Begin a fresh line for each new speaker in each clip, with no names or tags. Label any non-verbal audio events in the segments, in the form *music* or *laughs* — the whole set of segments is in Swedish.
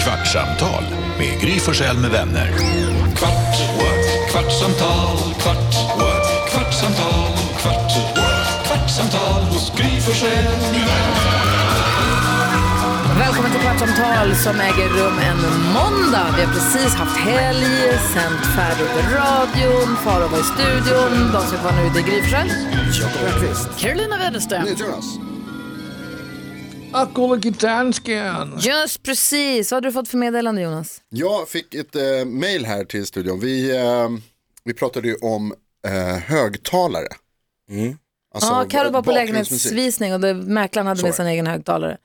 Kvartsamtal med Gry Forssell med vänner. Kvart, what? kvartsamtal, kvart, what? kvartsamtal, kvart, what? kvartsamtal hos Gry Forssell med vänner.
Välkommen till Kvartsamtal som äger rum en måndag. Vi har precis haft helg, sänt färdigt i radion, Farao var i studion, de som var nu det är Gry Forssell. Carolina Widerström.
Akoligitänsken.
Just precis. Vad hade du fått för meddelande Jonas?
Jag fick ett eh, mail här till studion. Vi, eh, vi pratade ju om eh, högtalare. Alltså,
Ja, Carro var på
bakgrundsmusik.
lägenhetsvisning och det, mäklaren hade med
Så.
sin egen högtalare.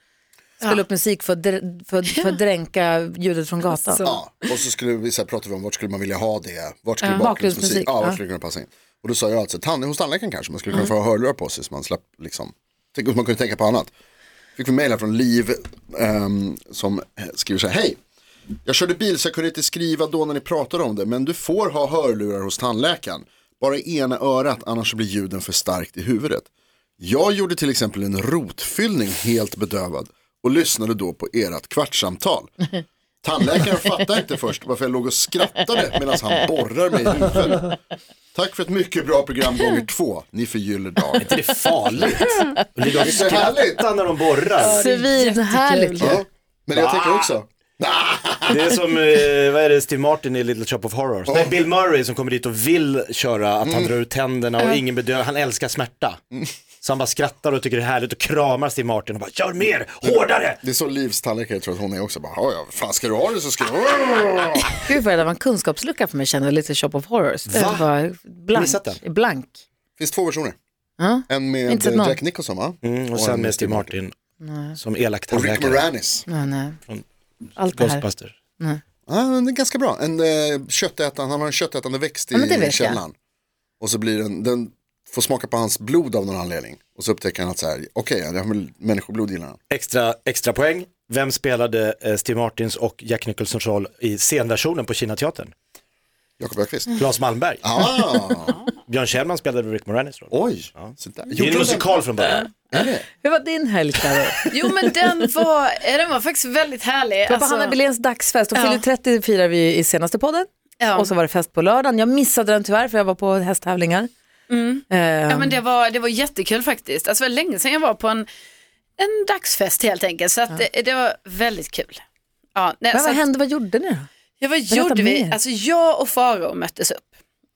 Spelade upp musik för att, dr- för, för att dränka ljudet från gatan.
Ja, och så, skulle vi, så här, pratade vi om vart skulle man vilja ha det, vart skulle
Ja. Bakgrundsmusik,
bakgrundsmusik, ja, Mm.
ja.
vart skulle det kunna passa in. Och då sa jag alltså, tann, hos tandläkaren kanske man skulle kunna få ha hörlurar på sig så man slapp liksom, tänk om man kunde tänka på annat. Fick vi mejl här från Liv ehm, som skriver så här, hej, jag körde bil så jag kunde inte skriva då när ni pratade om det, men du får ha hörlurar hos tandläkaren, bara i ena örat, annars blir ljuden för starkt i huvudet. Jag gjorde till exempel en rotfyllning helt bedövad och lyssnade då på ert kvartssamtal. Tandläkaren fattade inte först varför jag låg och skrattade medan han borrar mig i huvudet. Tack för ett mycket bra program gånger två. Ni förgyller dagen.
Det är farligt. Och ligga och
Det är härligt.
skratta när de borrar.
Svinhärligt.
Ja. Men jag tänker också.
Det är som, eh, vad är det, Steve Martin i Little Shop of Horrors. Nej, Bill Murray som kommer dit och vill köra att han drar ut tänderna och ingen bedövar, han älskar smärta. Så han bara skrattar och tycker det är härligt och kramar Steve Martin och bara kör mer, hårdare!
Det är så Livs tandläkare tror att hon är också. Bara, "Ja, ja, fan ska du ha det så ska du
Gud vad det där var en kunskapslucka för mig kände jag, lite shop of horrors. Jag var blank.
Missat den?
blank.
finns två versioner.
Ja.
En med
Inte sett någon.
Jack Nicholson va?
Mm, och sen med Steve Martin som elak
Och Rick
tandläkare.
Moranis.
Nej, nej.
Från
Allt det här.
Ghostbuster.
Ja, den är ganska bra. En eh, köttätande, han har en köttätande växt i
Ja, men det vet jag.
källaren. Och så blir den, den får smaka på hans blod av någon anledning. Och så upptäcker han att så här, okej, det här med människoblod gillar han.
Extra, extra poäng. Vem spelade eh, Steve Martins och Jack Nicholsons roll i scenversionen på Kinateatern?
Jakob Öqvist.
Mm.
Claes Malmberg.
Ah,
Björn Kjellman spelade Rick Moranis roll.
*laughs* oj. Så där.
Det är en musikal från början.
Hur var din helg
*laughs*
Carro?
Jo men den var, eh, den var faktiskt väldigt härlig. Alltså,
Det var på Hanna Billéns dagsfest. Hon fyllde 30 firar vi i senaste podden.
ja.
Och så var det fest på lördagen. Jag missade den tyvärr för jag var på hästtävlingar. Eh,
ja, men det, var, det var jättekul faktiskt. Alltså, det var länge sedan jag var på en, en dagsfest helt enkelt. Så att, det, det var väldigt kul. Ja, nej,
men
så
vad
att-
hände, vad gjorde ni då?
Ja, vad gjorde vi?
mer.
Alltså jag och Faro möttes upp.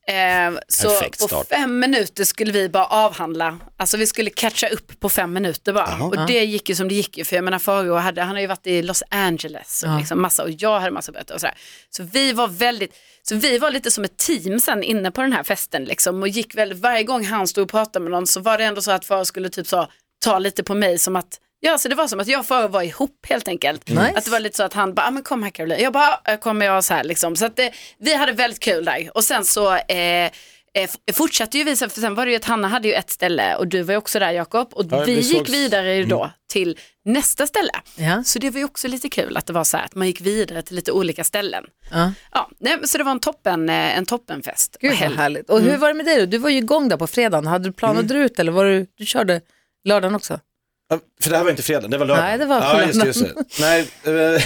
Eh, så
Perfekt
på
start.
fem minuter skulle vi bara avhandla, alltså vi skulle catcha upp på fem minuter bara. Och det gick ju som det gick ju, för jag menar Faro hade, han har ju varit i Los Angeles och, liksom massa, och jag hade massa berättat och sådär. Så vi var väldigt, så vi var lite som ett team sen inne på den här festen liksom och gick väl, varje gång han stod och pratade med någon så var det ändå så att Faro skulle typ så, ta lite på mig som att Ja, så det var som att jag och Faro var ihop helt enkelt. Att det var lite så att han bara, ah, men kom här Caroline. Jag bara, ah, kommer jag så här liksom. Så att det, vi hade väldigt kul där. Och sen så eh, eh, f- fortsatte ju vi, sen- för sen var det ju att Hanna hade ju ett ställe och du var ju också där Jakob. Och
Ja,
vi
vi
gick
sågs. Mm.
vidare ju då till nästa ställe.
Ja.
Så det var ju också lite kul att det var så här att man gick vidare till lite olika ställen.
Ja.
Ja, nej, men så det var en, toppen, eh, en toppenfest.
Gud vad härligt. Och
Mm.
hur var det med dig då? Du var ju igång där på fredagen. Hade du planer att dra ut eller var du, du körde lördagen också?
Ja, För det här var inte fredag, det var lördag.
Nej, det var
ja, just,
fredag.
det, just det. Nej, eh,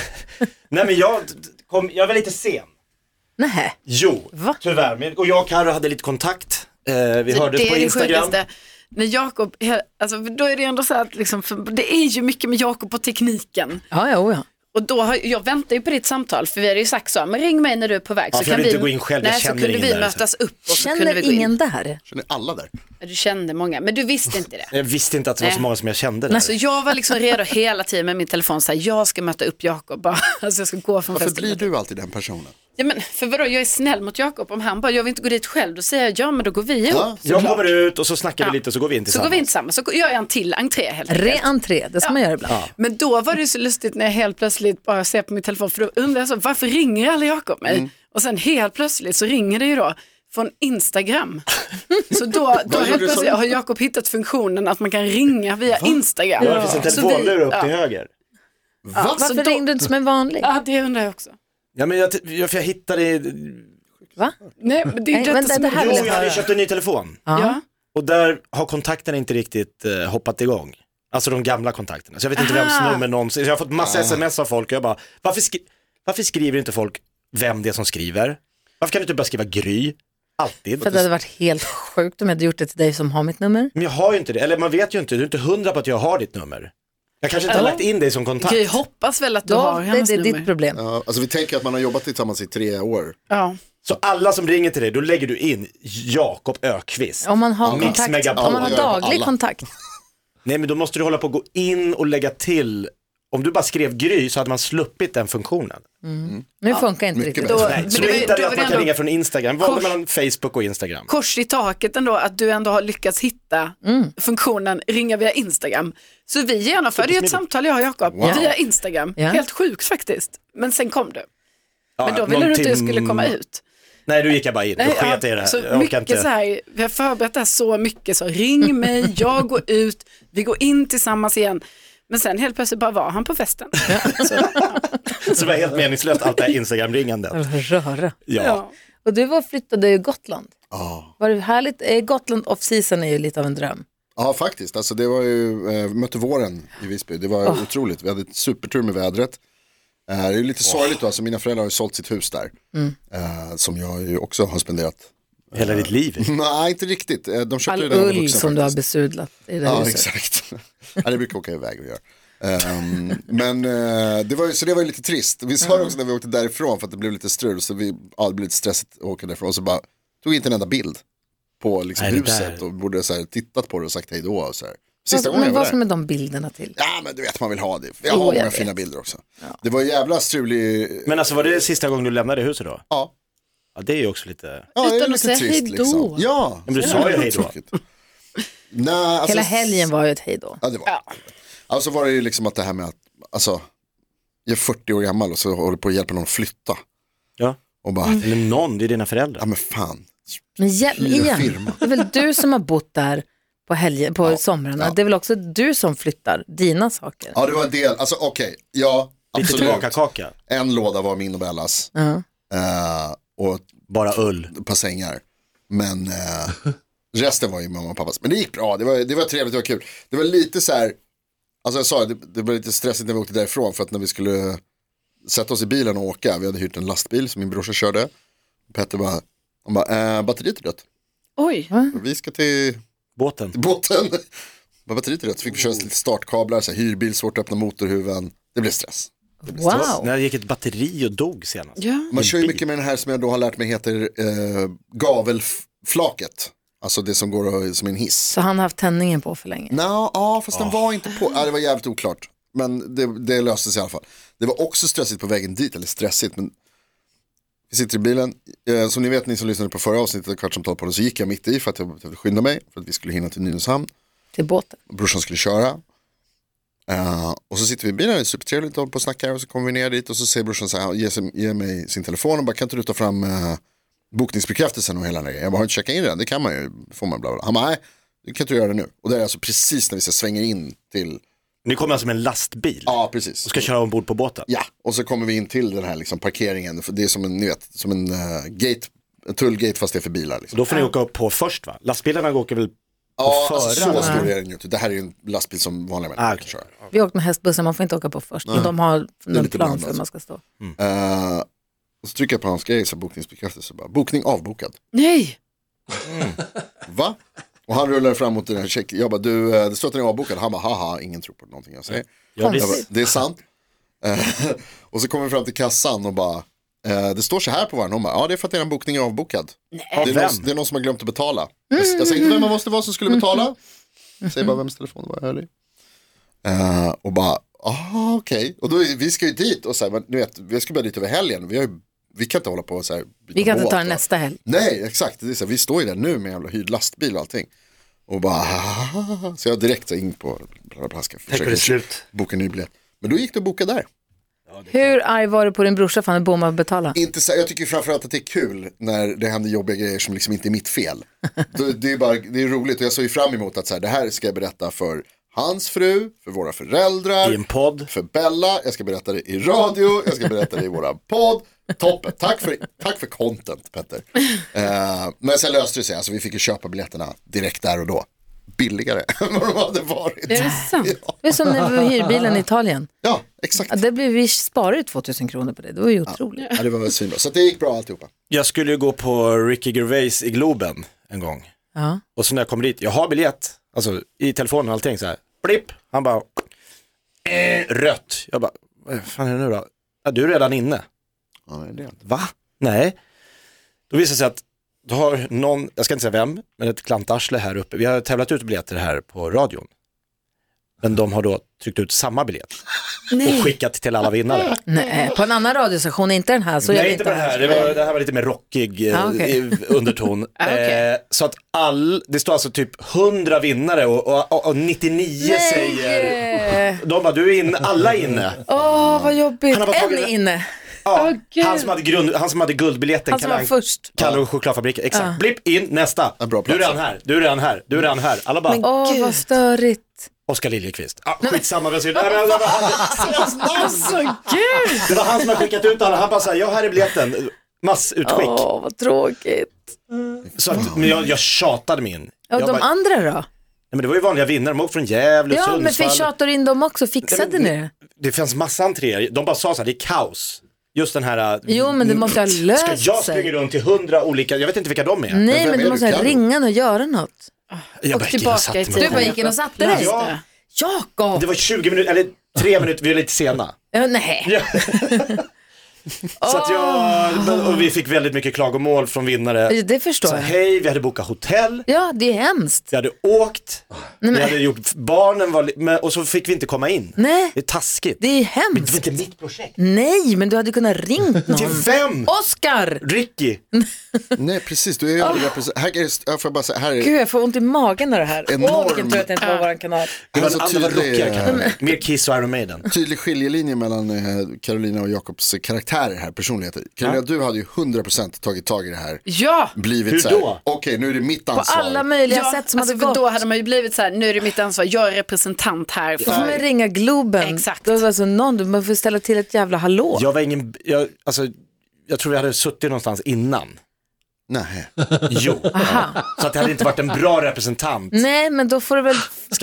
*laughs* nej, men jag, kom, jag var lite sen.
Nej.
Jo,
Va?
tyvärr. Men, och jag och Carro hade lite kontakt. Eh, vi hördes
det
på
är det
Instagram.
sjukaste. När Jakob, alltså, då är det ändå så här att liksom, för det är ju mycket med Jakob och tekniken.
Ja, ja, oh, ja.
Och då har, jag väntar ju på ditt samtal för vi hade ju sagt så, men ring mig när du är på väg.
Ja,
så
för jag vill inte gå in själv, jag
nej, så
känner
kunde
ingen
vi
där,
mötas upp och så kunde vi
Känner
gå
ingen
in.
där?
Känner alla där?
Du kände många, men du visste
*laughs*
inte det.
Jag visste inte att det var så
Nej.
många som jag kände där.
Så jag var liksom redo hela tiden med min telefon, så här, jag ska möta upp Jakob, bara. *laughs* alltså jag ska gå från
Varför
festen.
blir du alltid den personen?
Ja, men, för vadå, jag är snäll mot Jakob, om han bara, jag vill inte gå dit själv, då säger jag, ja men då går vi ihop.
Ja.
jag kommer ut och så snackar vi lite och så går vi in
Så
tillsammans.
går vi in tillsammans, så gör jag en till entré helt enkelt.
Re-entré, det ska man göra ibland.
Men då var det ju så lustigt när jag helt plötsligt bara ser på min telefon, för då undrar jag så, varför ringer aldrig Jakob mig?
Mm.
Och sen helt plötsligt så ringer det ju då från
*laughs*
Instagram. Så då,
gjorde
då helt
du så?
plötsligt har Jakob hittat funktionen att man kan ringa via Instagram.
Ja, det finns en
Så vi-
telefonlur upp till
ja.
höger.
Ja, så
Varför
då-
ringde du inte som en vanlig?
*laughs* Ja, det undrar jag också.
Ja, men jag, jag, för jag hittade...
Va?
Nej, men det är
Nej,
ju
men
detta som
det
är
här
Jo,
vill
roligt.
jag
jag hade ju
höra.
köpt en ny telefon.
Ja.
Och där har kontakterna inte riktigt eh, hoppat igång. Alltså de gamla kontakterna. Så jag vet inte vems nummer någonsin. Så jag har fått massa sms av folk och jag bara, varför, skri- Varför skriver inte folk vem det är som skriver? Varför kan du inte bara skriva Gry? Alltid.
För det hade varit helt sjukt om jag hade gjort det till dig som har mitt nummer.
Men jag har ju inte det, eller man vet ju inte, du är inte hundra på att jag har ditt nummer. Jag kanske inte har lagt in dig som kontakt.
Gry hoppas väl att du
Då,
har
det,
hennes
det är
nummer.
ditt problem.
Ja, alltså vi tänker att man har jobbat tillsammans i tre år.
Ja.
Så alla som ringer till dig, då lägger du in Jakob Ökvist.
Om man har
Mix
kontakt,
Megapol.
om man har
Ja, ja,
daglig
alla.
kontakt.
Nej men då måste du hålla på och gå in och lägga till. Om du bara skrev Gry så hade man sluppit den funktionen.
Nu funkar inte
mycket
riktigt.
bättre.
Då,
Nej,
men
så
det
då
var ju-
hittade
det
jag
var
att man
ju
kan
ändå-
ringa från Instagram, valde
Kors-
mellan Facebook och Instagram.
Kors i taket ändå att du ändå har lyckats hitta
Mm.
funktionen ringa via Instagram. Så vi genomförde ju ett samtal jag och Jakob via Instagram.
Ja.
Helt sjukt faktiskt. Men sen kom du.
Ja,
Men då
någon
ville du inte att jag
tim-
skulle komma ut.
Nej då gick jag bara in, då
Nej,
sket jag i det
ja, så
här. Jag orkar
mycket
inte.
så här, vi har förberett det här så mycket så
*laughs*
ring mig, jag går ut, vi går in tillsammans igen. Men sen helt plötsligt bara var han på festen.
Så det var helt meningslöst allt det här Instagram-ringandet.
röra.
Ja.
Ja.
Och du var flyttade till Gotland.
Ja,
Var det härligt? Eh, Gotland off-season är ju lite av en dröm.
ja faktiskt. Alltså det var ju, eh, vi mötte våren i Visby. Det var
Ah.
otroligt. Vi hade ett supertur med vädret. Eh, det är ju lite sorgligt då, alltså mina föräldrar har ju sålt sitt hus där.
Mm.
Eh, som jag ju också har spenderat.
Hela ditt liv.
Nej, inte riktigt. Eh, De köpte
All
ju den när jag var
ull
vuxen
som du har
faktiskt.
besudlat i det
Ja,
huset.
exakt. ja, det brukar jag åka iväg och göra. Ehm, men eh, det var ju, så det var ju lite trist. Vi sa det också när vi åkte därifrån för att det blev lite strul. Så vi, ja, det blev lite stressigt att åka därifrån. Så bara, tog inte en enda bild på liksom,
Nej, det
huset
där-
och borde så här, tittat på det och sagt hej då. Och så här. Sista
Alltså,
gången
men
jag var
vad ska
där.
med de bilderna till?
Ja men du vet man vill ha det. Jag har
Jo, jag
många
vet.
fina bilder också. Det var jävla strulig,
Men alltså var det sista gången du lämnade huset då?
ja.
Ja det är ju också lite...
ja det är
Utan att
lite
säga
trist,
hej då.
Liksom. Ja.
Men du sa ju hej då.
Tråkigt. Nej, alltså,
Hela helgen var ju ett hej då.
Ja, det var ja. Alltså var det ju liksom att det här med att, alltså, jag är 40 år gammal och så håller på att hjälpa någon flytta.
Ja.
Och bara,
Eller någon, det är dina
ja
föräldrar.
men fan.
Men igen,
Hyra
igen
firma.
det är väl du som har bott där på, helge, på somrarna.
ja.
Det är väl också du som flyttar dina saker.
Ja det var en del, alltså okej, ja,
Lite
absolut.
tillbaka-kaka,
En låda var min och Bellas.
Ja.
Eh, och ett
bara ull.
par sängar. Men eh, *laughs* resten var ju mamma och pappas. Men det gick bra, det var, det var trevligt, det var kul. Det var lite så här, alltså jag sa det, det var lite stressigt när vi åkte därifrån för att när vi skulle sätta oss i bilen och åka, vi hade hyrt en lastbil som min brorsa körde. Petter bara, han bara, eh, batteriet är dött.
Oj,
Vi ska till
Båten.
*laughs* botten. Var batteriet rätt så fick vi köra lite startkablar, så här, hyrbil, svårt att öppna motorhuven. Det blev stress.
Wow.
När gick ett batteri och dog senast?
ja.
Man kör ju mycket med den här som jag då har lärt mig heter eh, gavelflaket. Alltså det som går och, som en hiss.
Så han har haft tändningen på för länge.
Nå, ja fast den var inte på. Ja, det var jävligt oklart. Men det, det löste sig i alla fall. Det var också stressigt på vägen dit, eller stressigt men vi sitter i bilen. Eh, som ni vet ni som lyssnade på förra avsnittet av Kvartsamtal på den så gick jag mitt i för att jag behövde skynda mig för att vi skulle hinna till Nynäshamn.
Till båten.
brorsan skulle köra. Eh, och så sitter vi i bilen, det är supertrevligt, håller på och snackar och så kommer vi ner dit och så säger brorsan så här, han ger, sig, ger mig sin telefon och bara kan inte du ta fram eh, bokningsbekräftelsen och hela den där grejen? Jag bara har du inte checkat in den, det kan man ju, får man bla bla. Han bara nej, det kan inte du göra det nu. Och det är alltså precis när vi så svänger in till,
Ni kommer alltså med en lastbil
ja precis.
och ska köra ombord på båten?
Ja, och så kommer vi in till den här liksom parkeringen, för det är som en, ni vet, som en eh, gate, en tullgate fast det är för bilar. Liksom.
Då får ni åka upp på först va? Lastbilarna åker väl
Ja, alltså, så
förarna.
stor är den ju inte. Det här är ju en lastbil som vanliga människor
Ah,
kan
okej.
köra.
Vi åkte med hästbussen, man får inte åka på först. Men de har någon
lite
plan
blandat.
för hur man ska stå.
Eh, och så trycker jag på hans grej, så här, bokningsbekräftelse, bara, bokning avbokad.
nej.
Va? Och han rullar fram mot den här check. Jag bara, du, eh, det står att den är avbokad. Han bara, haha, ingen tror på någonting jag säger.
Ja,
Jag
visst.
bara, det är sant. Eh, *laughs* och så kommer vi fram till kassan och bara, eh, det står så här på varan. Hon bara, ja det är för att er bokning är avbokad. Det, är någon, det är någon som har glömt att betala. Jag, jag säger inte vem man måste vara som skulle betala. Jag säger bara vems telefon det var, jag höll i. Eh, och bara, ah okej. Och då, är- vi ska ju dit och så här, men, ni vet, vi ska bara dit över helgen. Vi, har ju, vi kan inte hålla på och så här. byta
Vi kan inte
båt
ta den
och-
nästa helg.
Nej, exakt. Det är så här, vi står ju där nu med en jävla hyrd lastbil och allting. Och bara, "Ah." så jag direkt så in på Plaska.
Tänk på det slut.
boka en ny biljett. Men då gick det att boka där.
Hur arg var du på din brorsa för han bommade att betala?
Inte så, jag tycker framförallt att det är kul när det händer jobbiga grejer som liksom inte är mitt fel. det, det, är bara, det är roligt och jag såg ju fram emot att så här, det här ska jag berätta för hans fru, för våra föräldrar,
I en podd.
för Bella, jag ska berätta det i radio, jag ska berätta det i våran podd. Toppen, tack för, tack för content Petter. Eh, men sen löste det sig, alltså, vi fick ju köpa biljetterna direkt där och då. billigare *laughs* än vad de hade varit.
Är det sant?
Ja,
Det är som
*laughs*
när vi hyr bilen i Italien.
ja exakt.
Ja, det blev, vi sparade ju 2000 kronor på det, det var ju otroligt.
Ja, det var väl svinbra. Så det gick bra alltihopa.
Jag skulle ju gå på Ricky Gervais i Globen en gång.
Ja.
Och så när jag kommer dit, jag har biljett, alltså i telefonen och allting så här, blipp, han bara, eh, rött. Jag bara, vad fan är det nu då? Ja, du är redan inne.
Ja, det är det.
Va? Nej. Då visar det sig att då har någon, jag ska inte säga vem, men ett klantarsle här uppe, vi har tävlat ut biljetter här på radion. Men de har då tryckt ut samma biljett och skickat till alla vinnare.
Nej, på en annan radiostation, inte den här. Så gör vi
Nej, inte på det här. Det, var, det här var lite mer rockig eh,
Ah, okej. Ah,
i-
*laughs*
underton. eh, så att all, det står alltså typ 100 vinnare och, och, och, och 99 säger,
Nej.
de bara du är inne, alla är inne.
Åh, vad jobbigt.
Han har bara
En
tagit
är
det.
inne.
Ja,
gud.
han, som hade grund, han som hade guldbiljetten,
Han som var
Kalle-
först. Ah.
Kalle och chokladfabriken, exakt. Blipp in, nästa.
En bra
du är
plats.
redan här, du är redan här, du är redan här. Alla bara,
Åh, vad störigt.
Oskar Liljeqvist. Ah, skitsamma, vem ser det? Nej, men det var han.
Gud!
Det var han som hade skickat ut alla, han bara såhär, ja här är biljetten. Massutskick.
Åh, vad tråkigt.
Så att, men jag, jag tjatade mig in.
Och
jag
de
bara,
andra då?
Nej, men det var ju vanliga vinnare, de åkte från Gävle,
Ja, men
Sundsvall.
vi tjatade in dem också. Fixade
Nej, men-
ni det?
Det fanns massa entréer, de bara sa så här, det är kaos. Just den här, äh,
Jo, men det måste ha
ska
löst
jag springa
sig.
runt till hundra olika, jag vet inte vilka de är.
Nej,
vem
men
är
du
du?
måste ha
Kan du?
ringa och göra något.
Jag bara, gick in och satte
tillbaka
Du
mig.
i tiden.
bara gick in och satte dig.
Ja.
Jakob!
Det var 20 minuter, eller 3 minuter, vi är lite sena.
Ja, nej.
Så att jag, och vi fick väldigt mycket klagomål från vinnare.
Det
Så
förstår jag.
hej, vi hade bokat hotell,
Ja, det är hemskt.
vi hade åkt, vi hade gjort, barnen var, li- men, och så fick vi inte komma in.
Nej.
Det är taskigt.
Det är
Det var
hemskt.
inte mitt projekt.
Nej, men du hade kunnat
*laughs*
ringt någon.
Till vem?
Oscar!
Ricky.
Nej, precis. Du är ju överrepresenterad. Här, är det- jag får bara säga, här är
Ah. Gud, jag får ont i magen av det här. Åh,
Enorm.
vilken tur att det inte var vår kanal.
Det
Det
var
var
en
så
annan
tydlig-
rockigare kanal. Mer Kiss och Iron Maiden.
tydlig skiljelinje mellan eh, Carolina och Jakobs karaktärer här, personligheter. Carolina, du hade ju 100% tagit tag i det här.
Ja,
Blivit
Hur
så här,
då?
Okej, nu är det mitt
På
ansvar.
alla möjliga
ja
sätt som
alltså,
hade
för
gått.
då hade man ju blivit så här, nu är det mitt ansvar, jag är representant här.
Då får
För...
man ringa Globen.
Exakt.
Då är det alltså någon, man får ställa till ett jävla hallå.
Jag var ingen, jag, alltså, jag tror vi hade suttit någonstans innan.
Nej.
Jo. Så att det hade inte varit en bra representant.
Nej, men då får du väl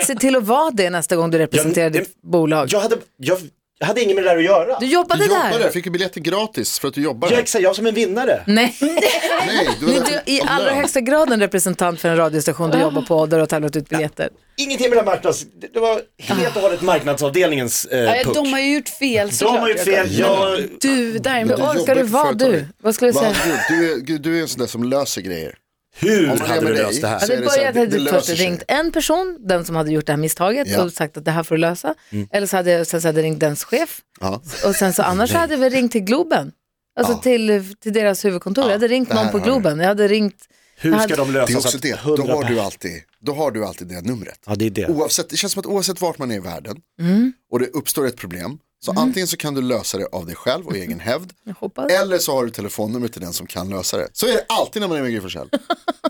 se till att vara det nästa gång du representerar
Jag- det-
ditt bolag.
Jag hade, jag, jag hade inget med det där att göra.
Du jobbade,
Du jobbade,
där.
fick ju biljetter gratis för att du jobbade.
Jag, exakt, jag som en vinnare.
*laughs*
Nej,
Nej, du var
du är
där för-
i
om
allra
lön.
högsta grad en representant för en radiostation du jobbar på och där du har tävlat ut biljetter.
Ingenting med den marknads... Det det var helt och hållet marknadsavdelningens eh,
Ja,
puck.
de har ju gjort fel
De har gjort
Jakob.
fel. Jag,
Du däremot.
Du
Hur orkar
jobbar
du
på
vara
företaget.
du? Vad skulle du
Vad
säga?
hade du? Du, är, Gud, du är en sån där som löser grejer.
hur
Om man är
hade du
med dig,
löst det
så
här?
är
Det
så här,
började att
det
jag först
löser sig.
ringt en person, den som hade gjort det här misstaget,
Ja. Mm.
och sagt att det här får du lösa. Eller så hade jag sen så hade jag ringt dens chef.
Ja.
Och sen
*laughs*
så annars så hade vi ringt till Globen. Alltså till, till deras huvudkontor. jag hade ringt
det här
någon på
har du.
Globen. Jag hade ringt,
Hur ska de lösa
Det är
så
också
att
det. Då
100
har, du
pers-
alltid, då har du alltid det numret.
Ja, det är det.
Oavsett, det känns som att oavsett vart man är i världen
Mm.
och det uppstår ett problem, så antingen så kan du lösa det av dig
*laughs*
själv och egen hävd,
hoppas.
eller så har du telefonnumret till den som kan lösa det. Så är det alltid när man är med
*laughs*
Gry Forssell.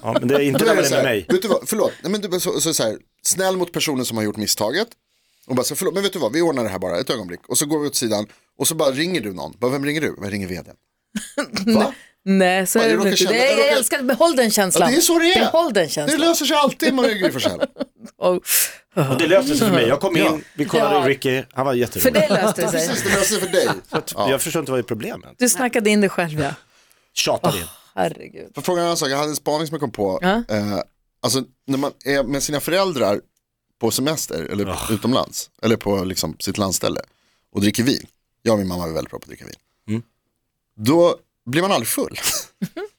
Ja, men det är inte
Då
när
är
man
det
är
så
med
här,
mig.
Vet du vad, förlåt, nej, men du, så, så, så här, snäll mot personen som har gjort misstaget. Och bara, så, förlåt, men vet du vad, vi ordnar det här bara ett ögonblick. Och så går vi åt sidan och så bara ringer du någon. Bara, vem ringer du? Jag
*laughs*
ringer vdn. Va?
Nej, så
Ja,
är
jag
det
råkar
inte.
känna-
Nej,
jag
jag
råkar-
älskar, behåll den
Ja,
känslan.
det är så det är.
Behåll den
Det
känslan.
löser sig alltid med Gry Forssell.
*laughs* Och,
Och det löste sig för mig. Jag kom in,
Ja.
vi kollade
Ja.
Ricky, han var
för
jätterolig.
det löste sig.
Precis, det löser sig för dig.
Jag förstår inte vad är problemet. Ah,
Du snackade in det själv ja.
Tjatade in.
Herregud.
För frågan är en sak, jag hade en spaning som jag kom på.
Ja.
Eh, alltså när man är med sina föräldrar på semester eller
Ah.
utomlands, eller på liksom, sitt landställe och dricker vin. Jag och min mamma är väldigt bra på att dricka vin.
Mm.
Då blir man aldrig full.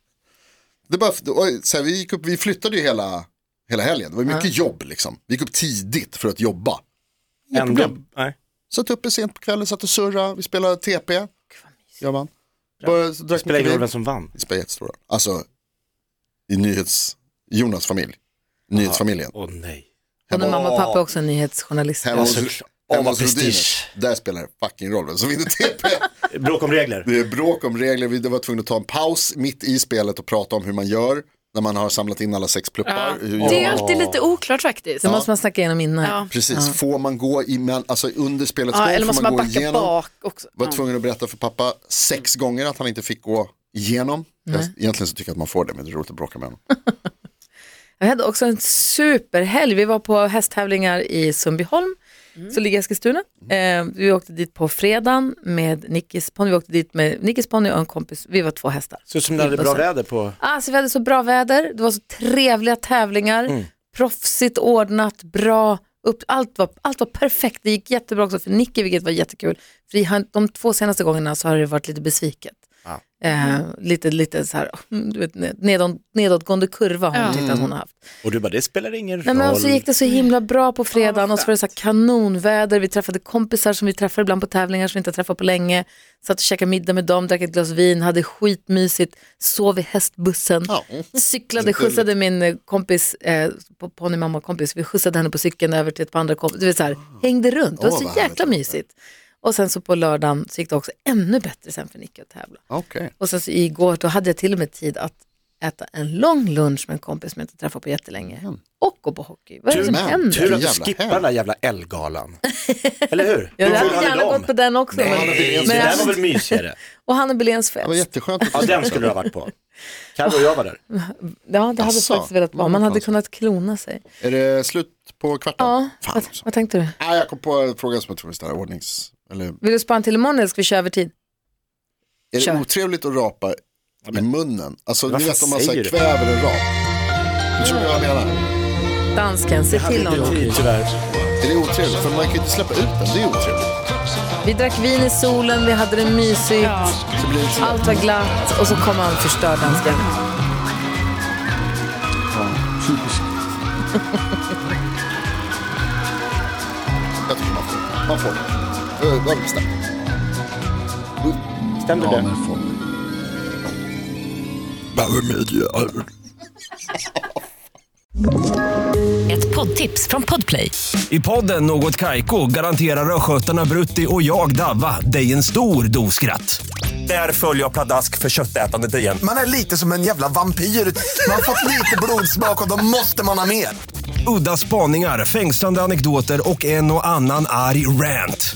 *laughs* det är bara, och, så här, vi, gick upp, vi flyttade ju hela, hela helgen, det var mycket jobb liksom. Vi gick upp tidigt för att jobba.
Ändå, nej.
Satt uppe sent på kvällen, satt och surra, vi spelade TP. Jag vann. Bara, så drack
Spelar
mycket
ingen roll
vin.
vem som vann.
Det spelar jättestor roll. Alltså, i nyhets... Jonas familj. Nyhetsfamiljen.
Åh nej.
Och när mamma och pappa är också nyhetsjournalister.
Hemma hos,
Ja, såklart. Åh,
hemma
vad
hos Rodiners.
prestige.
Där spelar det fucking roll vem som vinner
*laughs*
TP.
Bråk om regler.
det är bråk om regler, vi var tvungna att ta en paus mitt i spelet och prata om hur man gör. När man har samlat in alla sex pluppar. Hur gör
Det är ju
man?
alltid lite oklart faktiskt.
Det måste man snacka igenom innan.
Ja.
Precis, får man gå i, men- alltså under spelets
Ja,
gång
eller
får
måste man
man, gå
backa
igenom.
bak också?
Var
Ja. Mm.
tvungen att berätta för pappa sex gånger att han inte fick gå igenom. Jag, egentligen så tycker jag att man får det, men det är roligt att bråka med honom.
Jag hade också en superhelg. Vi var på hästtävlingar i Sundbyholm, som ligger i Eskilstuna. Eh, vi åkte dit på fredagen med Nickis ponny. Vi åkte dit med Nickis ponny och en kompis. Vi var två hästar.
Ser ut som ni hade bra
Bussen.
väder på.
Alltså, vi hade så bra väder, det var så trevliga tävlingar, proffsigt ordnat, bra. Upp, allt, var, allt var perfekt, det gick jättebra också för Nicky vilket var jättekul. För i han- de två senaste gångerna så har det varit lite besviket. Eh, lite lite så här, *laughs* du vet, nedåt, nedåtgående kurva har hon tyckt att hon har haft.
Och du bara, det spelar ingen
Nej, men
roll.
och så gick det så himla bra på fredagen och så var det så här kanonväder. Vi träffade kompisar som vi träffar ibland på tävlingar som vi inte har träffat på länge. Satt och käkade middag med dem, drack ett glas vin, hade skitmysigt, sov i hästbussen.
Ja.
Cyklade, skjutsade min eh, kompis, eh, på- ponny mamma kompis, vi skjutsade henne på cykeln över till ett par andra kompisar. Du vet så här, hängde runt, det var
Ah. Åh,
så
vad
jäkla
härligt.
mysigt. Och sen så på lördagen så gick det också ännu bättre sen för Nicky att tävla.
Okej.
Och sen så igår då hade jag till och med tid att äta en lång lunch med en kompis som jag inte träffat på jättelänge. Och gå på hockey. Vad är det som
men,
händer?
Tur att du
Jävla
skippar
helg.
den där jävla
*laughs*
Ellegalan. Eller hur?
Jag
Hur
hade
full hade
gärna
de?
gått på den också.
Hanna Biléns
men, alltså-
Det där
men,
var väl mysigare?
och Hanna Biléns
Det var
fest.
jätteskönt att
Ja, den skulle du ha varit på. Carro och jag var där.
Ja, det hade
Asså,
faktiskt velat vara. Man hade
konstigt.
kunnat klona sig.
Är det slut på kvarten?
Ja,
Fan
vad,
också.
vad tänkte du?
Nej, jag kom på en fråga som jag tror är sådär ordnings... Eller,
Vill du spara en till imorgon eller ska vi köra över tid?
är
Kör.
det otrevligt att rapa i munnen? Alltså, ni
Varför
vet om man
säger
säger
du?
kväver en rap. Du tror vad jag menar?
Dansken, se till honom.
Tid, tyvärr.
Är det otrevligt? För man kan ju inte släppa ut den, det är otrevligt.
Vi drack vin i solen, vi hade det mysigt,
Så blir det otrevligt.
allt var glatt och så kom han förstörd, dansken.
Jag tycker man får. Man får. Ö, vad bestämt.
Stämde
Ja,
det?
men får.
Ett poddtips från Podplay.
I podden Något Kaiko garanterar östgötarna Brutti och jag, Davva, dig en stor dos skratt. Där följer jag pladask för köttätandet igen.
Man är lite som en jävla vampyr. Man har fått lite blodsmak och då måste man ha mer.
Udda spaningar, fängslande anekdoter och en och annan arg rant.